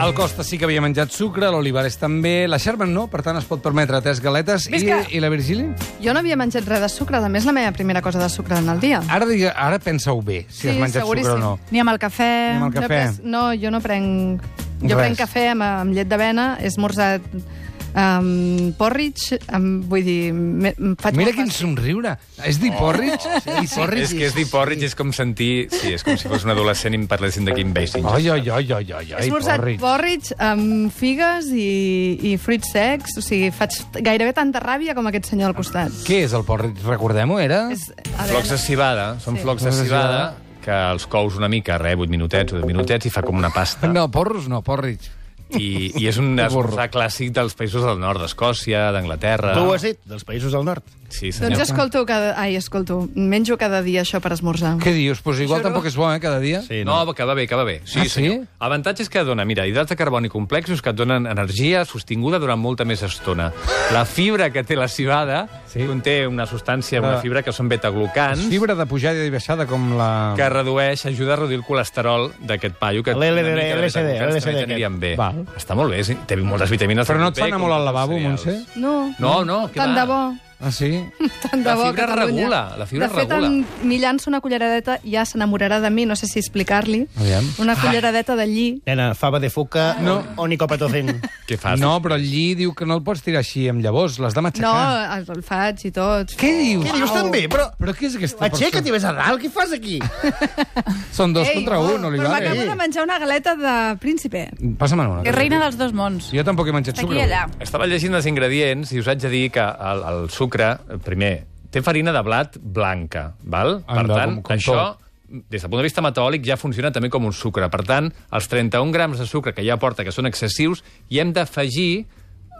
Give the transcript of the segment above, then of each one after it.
El Costa sí que havia menjat sucre, l'Olivares també, la Sherman no, per tant es pot permetre tres galetes. I, Visca! I la Virgili? Jo no havia menjat res de sucre, a més la meva primera cosa de sucre en el dia. Ara, digue- ara pensa-ho bé, si Sí, Ah, has menjat seguríssim. sucre o no. Ni amb el cafè... Ni amb el Jo, cafè. pres, no, jo no prenc... Jo Res. prenc cafè amb, amb llet d'avena, he esmorzat um, porridge, um, vull dir... Me, em faig Mira molt quin fàcil. somriure. És Oh. dir porridge? I porridge. És que és dir porridge, és com sentir... Sí, és com si fos un adolescent i em parlessin de Kim Basinger. Ai, ai, ai, ai, ai, He ai esmorzat porridge. porridge amb figues i, i fruits secs, o sigui, faig gairebé tanta ràbia com aquest senyor al costat. Què és el porridge? Recordem-ho, era? És, a Flocs de cibada, són Sí. flocs de Flocs de cibada que els cous una mica, re, 8 minutets o 10 minutets, i fa com una pasta. Ah. No, porros no, porridge. I, I és un Burro. esmorzar clàssic dels països del nord, d'Escòcia, d'Anglaterra... Tu ho has dit, dels països del nord. Sí, senyor. doncs escolto cada... Ai, escolto, menjo cada dia això per esmorzar. Què dius? Pues igual Xurro. tampoc és bo, eh, cada dia. Sí, no, que va bé, que va bé. Sí, Ah, sí? senyor. Avantatges que dona, mira, hidrats de carboni complexos que et donen energia sostinguda durant molta més estona. La fibra que té la cibada Sí. sí. conté una substància, una Ah. fibra que són betaglucans, Fibra de pujada i baixada com la... que redueix, ajuda a reduir el colesterol d'aquest paio, que una LLD, mica de LSD, betaglucans LSD, també t'anirien bé. Val. Està molt bé, sí. té moltes vitamines. Però no et fa bé, anar com molt al tots els lavabo, cereals. Montse? No, No, no, que tant va. de bo. Ah, sí? Tant de La bo, fibra Catalunya. regula, la fibra de fet, regula. en- m'hi llanço una culleradeta, ja s'enamorarà de mi, no sé si explicar-li. Aviam. Ah. Una culleradeta de lli. Nena, fava de foca Ah, no. o nicopatocin. Què fas? No, però el lli diu que no el pots tirar així amb llavors, l'has de No, matxacar. el el faig i tot. Què dius? Què dius també? Però Però què és aquesta aixeca't i persona? ves a dalt, què fas aquí? Són dos contra oh, un, Però Olivares. m'acabo de menjar una galeta de príncipe. Passa'm una. És reina dels dos mons. Jo tampoc he menjat Aquí sucre. i allà. Estava llegint els ingredients i us haig de dir que el, el sucre, primer, té farina de blat blanca, val? Anda, per tant, com- com això, tot. des del punt de vista metabòlic, ja funciona també com un sucre. Per tant, els 31 grams de sucre que ja porta, que són excessius, hi hem d'afegir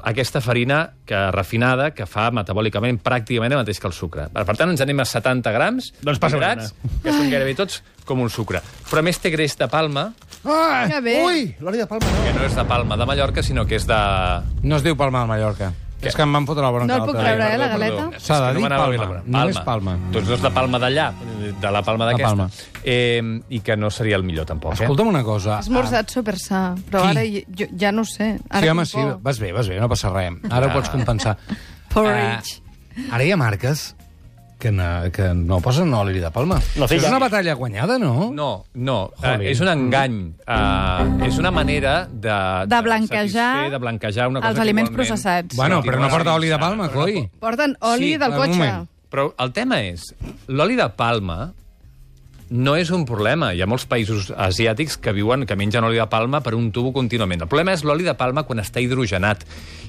aquesta farina que refinada que fa metabòlicament pràcticament el mateix que el sucre. Per per tant, ens anem a 70 grams Doncs passa grats, que són gairebé tots com un sucre. Però a més té greix de palma, Ah, Que bé. Ui, l'oli de palma no. que no és de palma de Mallorca, sinó que és de... No es diu Palma de Mallorca. És que em van fotre la bronca No el puc l'altre dia. creure, eh, la Perdó, galeta. perdó. S'ha de És que dir m'anava bé Palma. la Només Palma. Doncs no és de Palma d'allà, de la Palma d'aquesta. Palma. Eh, I que no seria el millor, tampoc. eh? Escolta'm una cosa. He esmorzat supersà, però Ah. Qui? ara hi- jo, ja no ho sé. Ara Sí, home, tinc sí, por. vas bé, vas bé, no passa res. Ara ho pots compensar. Porridge. Eh, ara hi ha marques que no, que no posen oli de palma. La filla. és una batalla guanyada, no? No, no, Jolín. eh, és un engany. Eh, és una manera de... De blanquejar satisfer, de blanquejar una cosa els que aliments igualment- processats. Bueno, Sí, però no igual porta sí, oli de sí, palma, però no coi. Porten oli Sí, del un cotxe. moment. Però el tema és, l'oli de palma no és un problema. Hi ha molts països asiàtics que viuen que mengen oli de palma per un tubo contínuament. El problema és l'oli de palma quan està hidrogenat.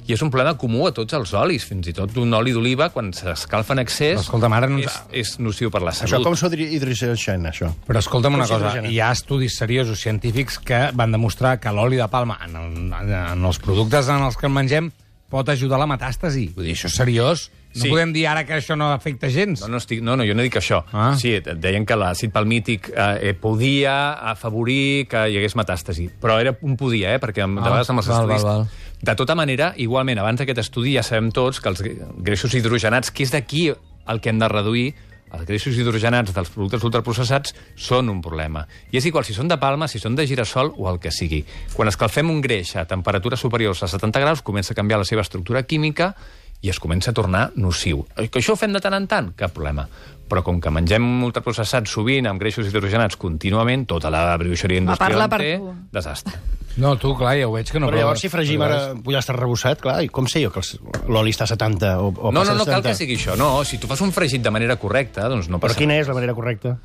I és un problema comú a tots els olis, fins i tot un oli d'oliva, quan s'escalfa en excés, Però escolta'm, ara no ens- és, és nociu per la Això salut. com s'ho hidrogen, això? Però escolta'm una Com cosa, s'hidrogena. hi ha estudis seriosos científics que van demostrar que l'oli de palma en, el, en, en els productes en els que el mengem pot ajudar a la metàstasi. Vull dir, això és seriós. No Sí. podem dir ara que això no afecta gens. No, no, estic, no, no, jo no dic això. Ah. Ah. Sí, et- et deien que l'àcid palmític eh, eh, podia afavorir que hi hagués metàstasi, però era un podia, eh, perquè amb, Ah, de vegades amb els val, estudis... val, val. De tota manera, igualment, abans d'aquest estudi ja sabem tots que els gre- greixos hidrogenats, que és d'aquí el que hem de reduir, els greixos hidrogenats dels productes ultraprocessats són un problema. I és igual si són de palma, si són de girassol o el que sigui. Quan escalfem un greix a temperatures superiors a 70 graus, comença a canviar la seva estructura química i es comença a tornar nociu. Eh, Que això ho fem de tant en tant? Cap problema. Però com que mengem ultraprocessats sovint amb greixos hidrogenats contínuament, tota la brioixeria industrial parla en per té, tu. desastre. No, tu, clar, ja ho veig que no Però proves. llavors, si fregim ara pollastre rebossat, clar, i com sé jo que els- l'oli està a 70 o, o No, no, passa de no 70? cal que sigui això. No, si tu fas un fregit de manera correcta, doncs no Però passa quina és la manera correcta?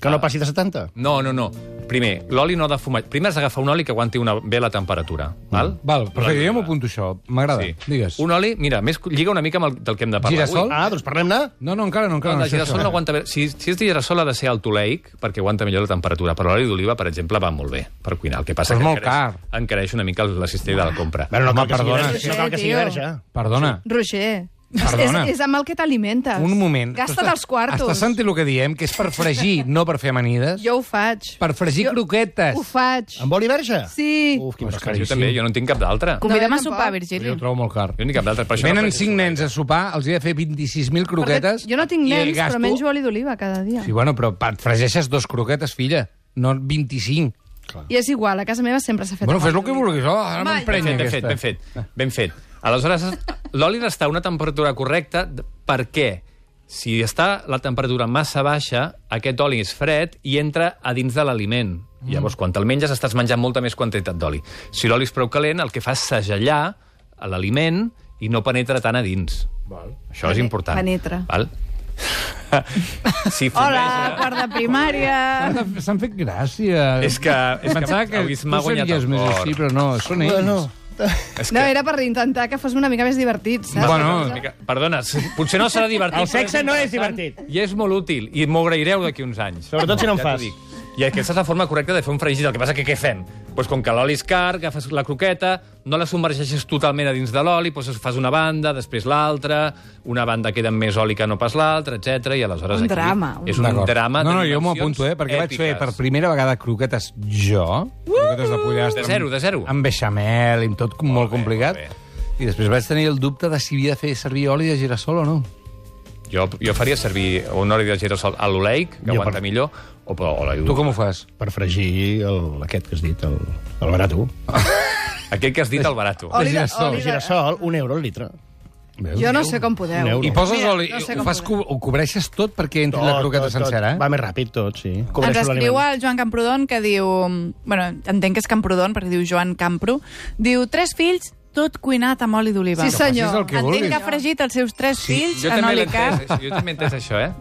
Que no passi de 70? No, no, no. Primer, l'oli no ha de fumar. Primer has d'agafar un oli que aguanti una bé la temperatura. Val? Val, perfecte, jo m'ho apunto això. M'agrada. Sí. Mm. Digues. Un oli, mira, més lliga una mica amb el del que hem de parlar Girassol? avui. Ah, doncs parlem-ne. No, no, encara no, encara No, no. la girassol no aguanta bé. Si, si és de girassol ha de ser altoleic, perquè aguanta millor la temperatura, però l'oli d'oliva, per exemple, va molt bé per cuinar. El que passa Però és que molt encareix, encareix una mica la cistella de la compra. Bueno, no Home, cal que perdona. sigui verge, no cal que Sí, sigui tio. verge. Perdona, Roger, Perdona. És, és amb el que t'alimentes. un moment. Gasta't Estàs- els quartos. Estàs sentint el que diem, que és per fregir, no per fer amanides? Jo ho faig. Per fregir croquetes. Ho faig. Amb oli verge? Sí. Uf, quin Però és pescat. que Jo també, jo no en tinc cap d'altre. Convidem No, a sopar, tampoc. Virgili. Jo ho trobo molt car. Jo ni cap d'altre. Per això Venen no cinc nens a sopar, els he de fer 25.000 croquetes... Jo no tinc i nens, gasto- però menjo oli d'oliva cada dia. Sí, bueno, però pa- et fregeixes dos croquetes, filla, no 25. Clar. I és igual, a casa meva sempre s'ha fet Bueno, amb fes el oli que d'oliva. vulguis, oh, ara Va, m'emprenya ben aquesta. fet, ben fet, ben fet, ben fet. Aleshores, l'oli està a una temperatura correcta d- perquè si està la temperatura massa baixa, aquest oli és fred i entra a dins de l'aliment. Mm. Llavors, quan te'l menges, estàs menjant molta més quantitat d'oli. Si l'oli és prou calent, el que fa és segellar l'aliment i no penetra tant a dins. Val. Això és Pene- important. penetra. Val? si Hola, fumeja- quart de primària. fet. Ah, S'han fet gràcia. eh, És que- és que Pensava que, avui tu m'ha guanyat series el més cor. així, però no, són ells. Bueno, És No, era per intentar que fos una mica més divertit, saps? Bueno, Una mica- Perdona, s- potser no serà divertit. El sexe però no és interessant divertit. I és molt útil, i m'ho agraireu d'aquí uns anys. Sobretot si no en Ja t'ho fas. dic. I aquesta és la forma correcta de fer un fregit. El que passa que què fem? Pues com que l'oli és car, agafes la croqueta, no la submergeixes totalment a dins de l'oli, pues fas una banda, després l'altra, una banda queda amb més oli que no pas l'altra, etc. I aleshores Un aquí drama. és un D'acord. drama No, no, de jo m'ho dimensions apunto, eh, perquè vaig fer èpiques. per primera vegada croquetes jo, croquetes de pollastre. De zero, de zero. Amb, amb beixamel, i amb tot molt, molt bé, complicat. molt I després vaig tenir el dubte de si havia de fer servir oli de girassol o no. Jo, jo faria servir un oli de girassol a l'oleic, que Jo aguanta per- millor, o, o l'oli Tu com ho fas? per fregir el, aquest que has dit, el, el barato. Aquell que has dit, el barato. de girassol. El girassol, un euro al litre. Jo no sé com podeu. Un euro. I poses Mira, oli, no sé ho, com fas, podem. co ho cobreixes tot perquè entri la croqueta sencera, eh? Va més ràpid tot, sí. Ens Cobreixo Doncs escriu l'aliment. el Joan Camprodon que diu... Bueno, entenc que és Camprodon perquè diu Joan Campro. Diu, tres fills, tot cuinat amb oli d'oliva. Sí, Facis senyor. el que entenc vulguis. que ha fregit els seus tres sí, fills jo en també oli l'he car. entès, jo també he entès això, eh?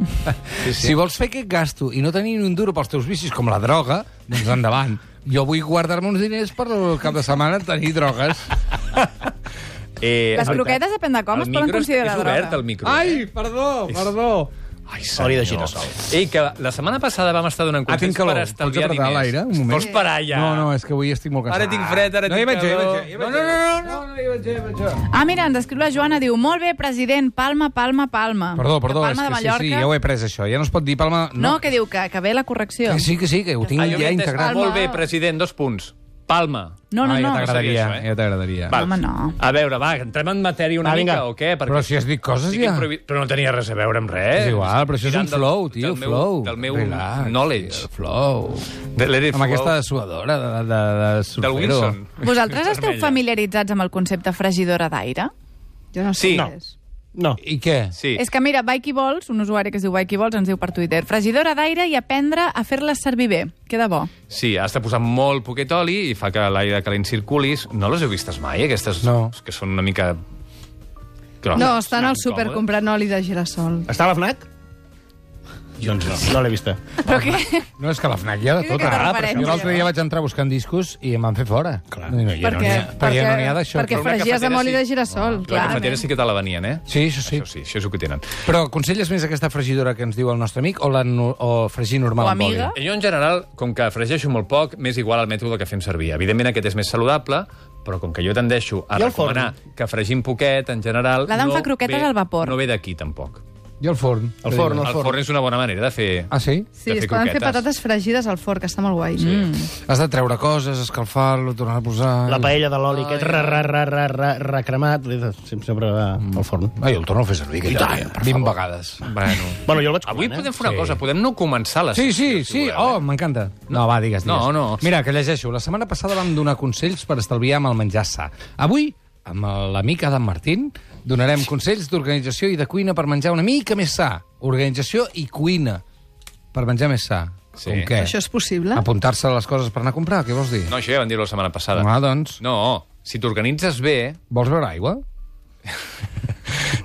Sí, Si vols fer aquest gasto i no tenir ni un duro pels teus vicis, com la droga, doncs endavant. Jo vull guardar-me uns diners per el cap de setmana tenir drogues. Eh, Les croquetes, depèn de com, el es poden micro és- considerar és droga. obert, el micro. Ai, perdó, perdó. Ai Oli de girassol. Ei, que la setmana passada vam estar donant Ah, tinc consells calor. per Pots estalviar apretar diners. l'aire, un moment? Vols parar ja? No, no, és que avui estic molt cansat. Ara tinc fred, ara no, tinc hi vaig, jo, calor. hi vaig, jo, hi vaig, No, no, no, no. no, no, hi vaig, jo, hi vaig, jo. Ah, mira, ens escriu la Joana, diu, molt bé, president, palma, palma, palma. Perdó, perdó, que és palma de que sí, Mallorca... sí, ja ho he pres, això. Ja no es pot dir Palma... No, que diu que, que ve la correcció. Que sí, que sí, que ho tinc Ah, jo ja m'he entès. integrat. Molt bé, Palma. president, dos punts. Palma. No, no, ah, no. ja t'agradaria, No sabia això, eh? ja t'agradaria. Val. Home, no. A veure, va, entrem en matèria una Va, mica, vinga. o què? Perquè Ah, Però si has dit coses estic ja. improvi- Però no tenia res a veure amb res. És igual, però això és un Tirant del- flow, tio, del meu, flow. Del meu Relax, knowledge. tio, flow. De l'Eret Amb Flow. aquesta suadora de, de, de, de surfero. Del Wilson. Vosaltres esteu Vermella. familiaritzats amb el concepte fregidora d'aire? Jo no sé Sí. què és. No. I què? Sí. És que mira, Bikey Balls, un usuari que es diu Bikey Balls, ens diu per Twitter, fregidora d'aire i aprendre a fer-la servir bé. Queda bo. Sí, has de posar molt poquet oli i fa que l'aire calent circulis. No les heu vistes mai, aquestes? No. Que són una mica... grosses, No, estan al incòmodes. súper comprant oli de girassol. Està a la FNAC? Doncs no, no l'he vista. Però què? No, és que la FNAC hi ha de És tot. Ah, que ara. te refereixo, Jo l'altre jo. dia vaig entrar buscant discos i em van fer fora. Clar. No, no, ja no Perquè- n'hi ha, perquè, ja no n'hi ha d'això. Perquè Però una fregies cafetera amb oli sí. de girassol, La clar. cafetera sí que te la venien, eh? Sí, això sí. Això sí, això és el que tenen. Però aconselles més aquesta fregidora que ens diu el nostre amic o, la, no- o fregir normal O amb oli? amiga? Jo, en general, com que fregeixo molt poc, m'és igual el mètode que fem servir. Evidentment, aquest és més saludable, però com que jo tendeixo a I el recomanar que fregim poquet, en general... L'Adam fa croquetes ve, al vapor. No ve d'aquí, tampoc. I el forn? El forn, El forn és una bona manera de fer... Ah, sí? Sí, de es fer poden fer croquetes. patates fregides al forn, que està molt guai. Has de treure coses, escalfar-lo, tornar a posar... La paella de l'oli, aquest ra, ra, ra, ra, ra, recremat, li de- sempre va al forn. Ah, jo el torno a fer servir, que ja 20 vegades. Bueno. Bueno, jo el vaig eh? Avui podem fer una Sí. cosa, podem no començar la Sí, sessió, sí, si sí. voleu, eh? Oh, m'encanta. No, va, digues, digues. No, no. Mira, que llegeixo. La setmana passada vam donar consells per estalviar amb el menjar sa. Avui, amb l'amic Adam Martín, donarem consells d'organització i de cuina per menjar una mica més sa. Organització i cuina per menjar més sa. Sí. Com què? Això és possible? Apuntar-se a les coses per anar a comprar, què vols dir? No, això ja vam dir-ho la setmana passada. Ah, doncs. No, si t'organitzes bé, Vols beure aigua?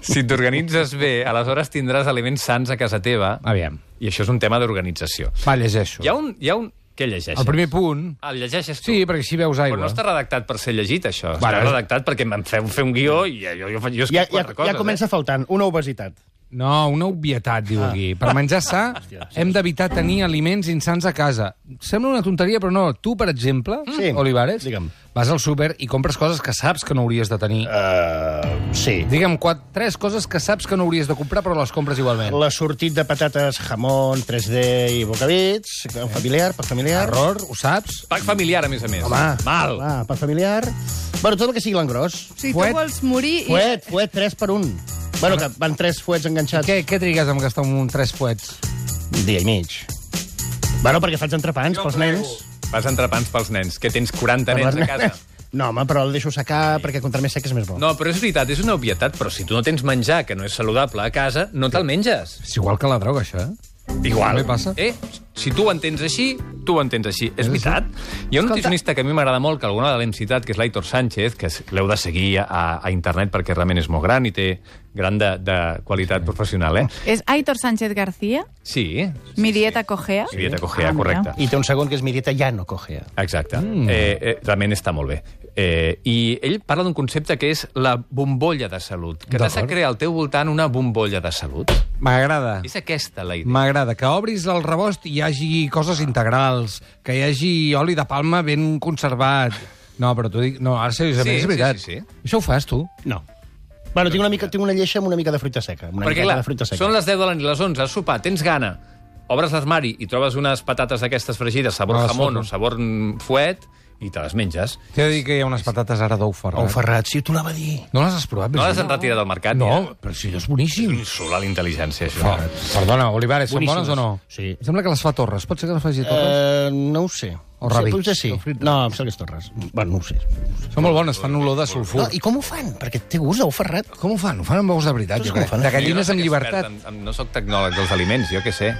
si t'organitzes bé, aleshores tindràs aliments sans a casa teva. Aviam. I això és un tema d'organització. Va, llegeixo. Hi ha un... Hi ha un... Què llegeixes? El primer punt... Ah, el llegeixes tu? Sí, perquè així veus aigua. Però no està redactat per ser llegit, això. Bueno, està és- redactat perquè em feu fer un guió i jo, jo, jo escric Ja, ja, quatre coses. eh? ja comença faltant una obesitat. No, una obvietat, Ah. diu aquí. Per menjar sa, hem d'evitar tenir aliments insans a casa. Sembla una tonteria, però no. Tu, per exemple, Sí, Olivares, digue'm. vas al súper i compres coses que saps que no hauries de tenir. Uh, sí. Digue'm, quatre, tres coses que saps que no hauries de comprar, però les compres igualment. La sortit de patates, jamón, 3D i bocabits, familiar, per familiar. Error, ho saps? eh? Pac familiar, a més a més. Home. Mal. Ah, per familiar. Bueno, tot el que sigui l'engròs. O sigui, tu Fuet. vols morir i... Fuet, fuet, 3 per 1. Bueno, que van 3 fuets enganxats. Què, què trigues amb gastar un tres fuets? Un dia i mig. Bueno, perquè faig entrepans pels nens. Fas entrepans pels nens, que tens 40 Per nens a les casa. nenes. No, home, però el deixo secar perquè contra més sec és més bo. No, però és veritat, és una obvietat, però si tu no tens menjar que no és saludable a casa, no te'l menges. És igual que la droga, això, eh? Igual. També passa. Eh? Si tu ho entens així, tu ho entens així. És veritat. Hi ha un nutricionista que a mi m'agrada molt, que alguna vegada l'hem citat, que és l'Aitor Sánchez, que es- l'heu de seguir a, a internet perquè realment és molt gran i té gran de, de qualitat professional, eh? És Aitor Sánchez García, Sí, mi dieta cogea. sí. dieta cogea, Ah, mira. correcte. I té un segon que és mi dieta ja no cogea. Exacte. Mm. Eh, eh, realment està molt bé. Eh, I ell parla d'un concepte que és la bombolla de salut. Que t'has de D'acord. crear al teu voltant una bombolla de salut. M'agrada. És aquesta la idea. M'agrada que obris el rebost i hi hagi coses integrals, que hi hagi oli de palma ben conservat. No, però t'ho dic... No, ara seriosament, Sí, és veritat. sí, sí, sí. Això ho fas, tu? No. Bueno, tinc una, mica, tinc una lleixa amb una mica de fruita seca. Amb una Perquè, mica clar, de fruita seca. són les 10 de la nit, les 11, has sopar, tens gana, obres l'armari i trobes unes patates d'aquestes fregides, sabor Ah, ah, jamón sopa. o sabor mm, fuet, i te les menges. T'he de dir que hi ha unes patates ara d'ou ferrat. Oh, Ferrat, si tu la va dir. No les has provat? No les Virginia? han retirat del mercat, No, però si allò és boníssim. Insular la intel·ligència, això. Fa, perdona, Olivares, són Boníssimes. bones o no? Sí. Em sembla que les fa Torres. Pot ser que les faci Torres? Uh, no ho sé. O Rabi. Sí, potser sí. O frites. No, em sembla que és Torres. Bueno, no ho sé. Són molt bones, fan olor de sulfur. No, I com ho fan? Perquè té gust d'ou ferrat. Com ho fan? Ho fan amb ous de veritat, Tu jo com ho crec. fan? De Jo no gallines sóc amb expert llibertat. En, en, no sóc tecnòleg dels aliments, jo què sé.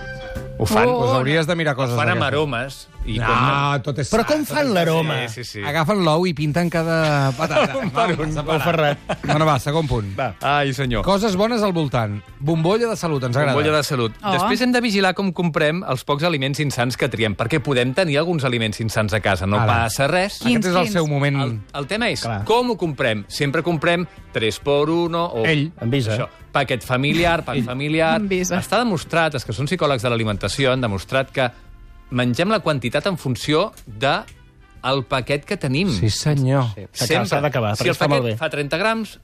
Ho fan, Doncs hauries de mirar coses Oh. fan amb d'aquestes. aromes. I No, tot és... Però com fan l'aroma? Sí, sí, sí. Agafen l'ou i pinten cada patata. un per un, Ou ferrat. Bueno, va, segon punt. Va. Ai, senyor. Coses bones al voltant. Bombolla de salut, ens agrada. Bombolla de salut. Oh. Oh. Després hem de vigilar com comprem els pocs aliments insans que triem, perquè podem tenir alguns aliments insans a casa. No Ara. passa res. Aquest és el Quins, seu quins? moment... Mm. El, el tema és Clar. Clar. com ho comprem. Sempre comprem 3 por 1 o... Ell, avisa. Això, paquet familiar, pack familiar... Avisa. Està demostrat, els que són psicòlegs de l'alimentació han demostrat que mengem la quantitat en funció de el paquet que tenim. Sí, senyor. Sí. S'acaba- s'ha d'acabar, si perquè el està molt paquet bé. fa 30 grams,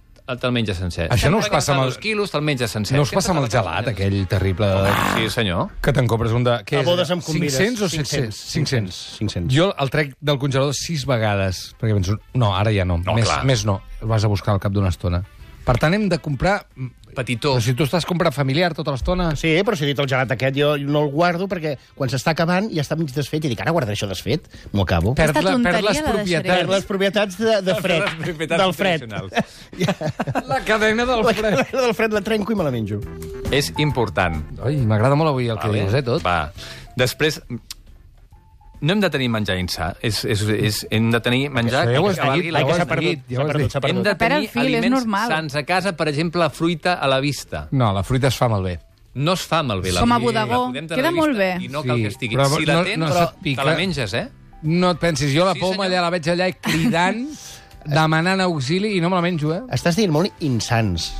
te'l menges sencer. Això Si no us paquet passa amb fa el- dos quilos, te'l menges sencer. No us passa amb Sempre el t'acabes gelat, menjant. aquell terrible... Sí, senyor. Que te'n compres un de... Què A és, bodes em allò? convides. 500 o 500? 600? 500. 500. Jo el trec del congelador sis vegades, perquè penso, no, ara ja no. No, més, clar. més no, el vas a buscar al cap d'una estona. Per tant, hem de comprar... Petitó. Però si tu estàs comprant familiar tota l'estona... Sí, però si he dit el gelat aquest, jo no el guardo perquè quan s'està acabant ja està mig desfet i dic, ara guardaré això desfet, m'ho acabo. Perd, Aquesta la, perd tonteria les la propietats. deixaré. Per les propietats de, de fred, Les propietats del fred. nutricionals. La cadena del La fred. cadena del fred la trenco i me la menjo. És important. Ai, m'agrada molt avui el que Vale. dius, eh, tot. Va. Després, no hem de tenir menjar insà. És, és, és, hem de tenir menjar Això ja ho has valgui dit, la ja ho pena. has s'ha perdut, dit, ja s'ha ho has perdut, dit. s'ha Hem de La pera tenir al fil, és aliments normal. sans a casa, per exemple, fruita a la vista. No, la fruita es fa malbé. No es fa malbé la Com a fruita. La bodegó. podem tenir a Queda la vista molt bé. I no cal Sí, que estigui. però si la no- tens, no però se't pica. te la menges, eh? No et pensis, jo la Sí, poma senyor. allà la veig allà cridant, demanant auxili i no me la menjo, eh? Estàs dient molt insans.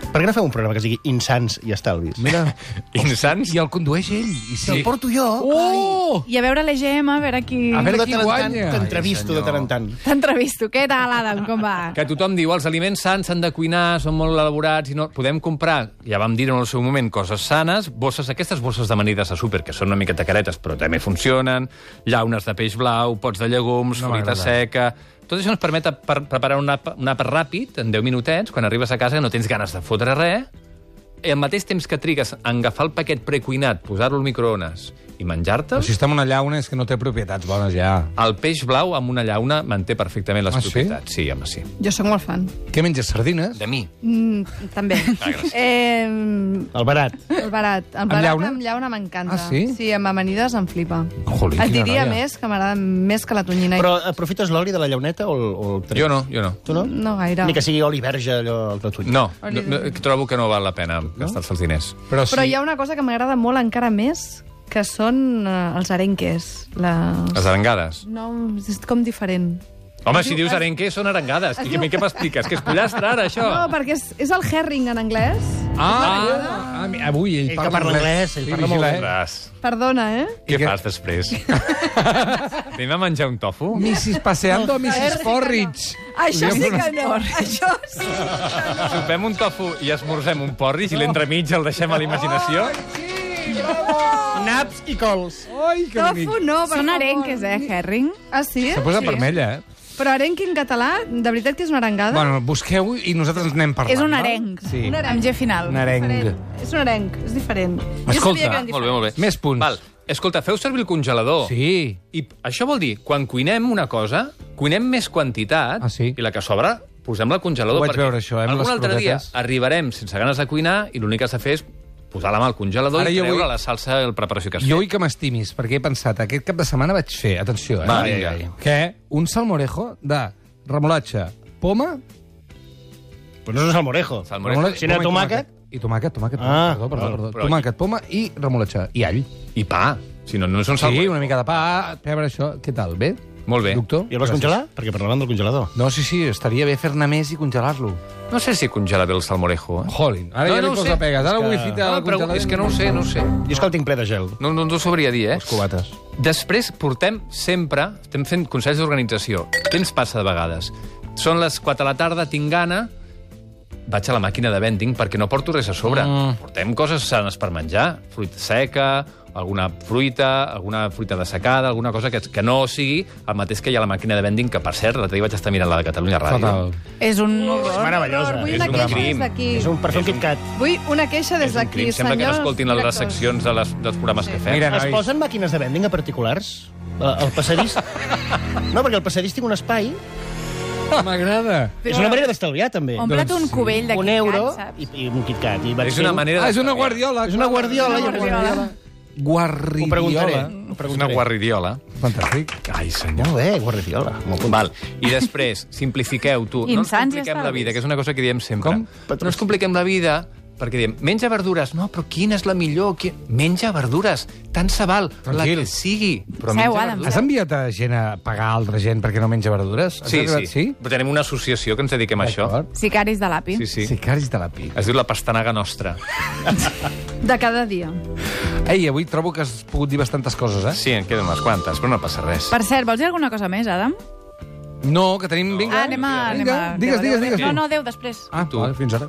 Per què no fem un programa que es digui insans i estalvis? Mira, Insans. i el condueix ell. I sí. Te'l porto jo. Oh! I a veure l'EGM, a veure qui... A Tu veure de qui tant en tant guanya. T'entrevisto de tant en tant. T'entrevisto. Què tal, Adam? Com va? Que tothom diu, els aliments sans s'han de cuinar, són molt elaborats, i no podem comprar, ja vam dir en el seu moment, coses sanes, bosses, aquestes bosses d'amanides a súper, que són una miqueta caretes, però també funcionen, llaunes de peix blau, pots de llegums, No no fruita m'agrada. seca... Tot això ens permet per preparar un àpat, un àpat ràpid, en 10 minutets, quan arribes a casa i no tens ganes de fotre res, i al mateix temps que trigues a agafar el paquet precuinat, posar-lo al microones i menjar-te'l, Però si està en una llauna és que no té propietats bones, ja. el peix blau amb una llauna manté perfectament les Ah, sí? propietats. Sí? sí, home, sí. Jo sóc molt fan. Què menges, sardines? De mi. Mm, també. Ah, gràcies. eh, El barat. el barat. El Amb barat llauna? amb llauna m'encanta. Ah, sí? Sí, amb amanides em flipa. Jolín, Et quina diria noia. més, que m'agrada més que la tonyina. Però aprofites l'oli de la llauneta o el, o el treus? Jo no, jo no. Tu no? No gaire. Ni que sigui oli verge, allò, el gratuït. No, no, no, trobo que no val la pena gastar-se els diners. Però, Però hi ha una cosa que m'agrada molt encara més, que són eh, els arenques. Les... Les arengades. No, és com diferent. Home, si dius arenque, són arengades. I a mi què m'expliques? Que és pollastre, ara, això? No, perquè és, és el herring en anglès. Ah, ah, ah, avui ell, Ell que parla anglès, ell parla molt vigila, bé. eh? Ostres, Perdona, eh? què que- fas després? Anem a menjar un tofu? Mrs. Paseando, Mrs. Porridge. Això sí Podríem que no. Això sí. Sopem un tofu i esmorzem un porridge i l'entremig el deixem a la imaginació? Ah! Naps i cols. Ai, que bonic. Tofu no, per Són favor. arenques, eh, herring? Ah, sí? Se posa vermella, eh? Però arenque en català, de veritat que és una arengada? Bueno, busqueu i nosaltres anem parlant. És un va? arenc. Sí. Un arenc. Amb G final. Un arenc. Diferent. És un arenc, és diferent. Jo Escolta, sabia que eren Molt bé, molt bé. Més punts. Val. Escolta, feu servir el congelador. Sí. I això vol dir, quan cuinem una cosa, cuinem més quantitat Ah, sí? i la que sobra posem-la al congelador. Ho vaig perquè veure, això, eh, amb Algun les altre dia croquetes. arribarem sense ganes de cuinar i l'únic que has de fer és posar la mà al congelador Ara i jo treure vull- la salsa i la preparació que has Jo vull que m'estimis, perquè he pensat, aquest cap de setmana vaig fer, atenció, eh? Va, vinga. Que un salmorejo de remolatxa, poma... Però no és un salmorejo. fet. Salmorejo. remolatxa, Si no era poma i tomàquet? I tomàquet, tomàquet, tomàquet Ah. perdó, perdó, Bueno, perdó. però- Tomàquet, poma i remolatxa. I all. I pa. Si no, no és un Sí, salmorejo. una mica de pa, pebre, això. Què tal, bé? Molt bé. Doctor? I el vas congelar? Perquè parlàvem del congelador. No, sí, sí, estaria bé fer-ne més i congelar-lo. No sé si congela bé el salmorejo. Eh? Jolín, ara No, no, ja no li ho posa sé. pegues. Ara És ho vull que- fitar No, al però congelador. és que no ho sé, no ho sé. Jo és que el tinc ple de gel. No, no, no t'ho sabria dir, eh? Les cubates. Després portem sempre, estem fent consells d'organització. Què ens passa de vegades? Són les 4 de la tarda, tinc gana, vaig a la màquina de vending perquè no porto res a sobre. Mm. Mm. Portem coses sanes per menjar, fruita seca, alguna fruita, alguna fruita dessecada, alguna cosa que, que no sigui el mateix que hi ha a la màquina de vending, que per cert, l'altre dia vaig estar mirant la de Catalunya Ràdio. Fatal. És un És horror. meravellosa. Vull és És, un una queixa des crim. d'aquí. és un perfum Kit Kat. Vull una queixa des És un crim. d'aquí, Sembla que no senyors escoltin les altres directors. seccions de les, dels programes sí. que fem. Mira, Es nois. posen màquines de vending a particulars? Eh, El passadís... No, perquè el passadís tinc un espai. M'agrada. És una manera d'estalviar, també. Doncs Ompla't Doncs un cubell de un Kit Kat, euro saps? i, i un Kit Kat. I vaig És una fer-ho. manera... Ah, és una d'estalviar. guardiola. És una guardiola. Una llavors. guardiola. Guardiola. Ho preguntaré. Ho És una preguntaré. guarridiola. Fantàstic. Ai, senyor. Molt bé, guardiola. Molt bé. Val. I després, simplifiqueu, tu. No ens Insans i compliquem la estalvis. vida, que és una cosa que diem sempre. Com? No ens compliquem la vida perquè diem, menja verdures. No, però quina és la millor? Qui... Menja verdures. Tant se val, Tranquil. la que sigui. Però Seu, menja Adam, verdures. Has enviat a gent a pagar altra gent perquè no menja verdures? Has Sí, arribat- sí, sí. Però tenim una associació que ens dediquem a això. D'acord. Sicaris de l'API. Sí, sí. Sí, caris de la pic. Es diu la pastanaga nostra. De cada dia. Ei, avui trobo que has pogut dir bastantes coses, eh? Sí, en queden unes quantes, però no passa res. Per cert, vols dir alguna cosa més, Adam? No, que tenim... Vinga, Ah, anem a... vinga. anem a- Digues, adéu, digues, adéu. digues. No, no, adéu, després. Ah, tu. fins ara.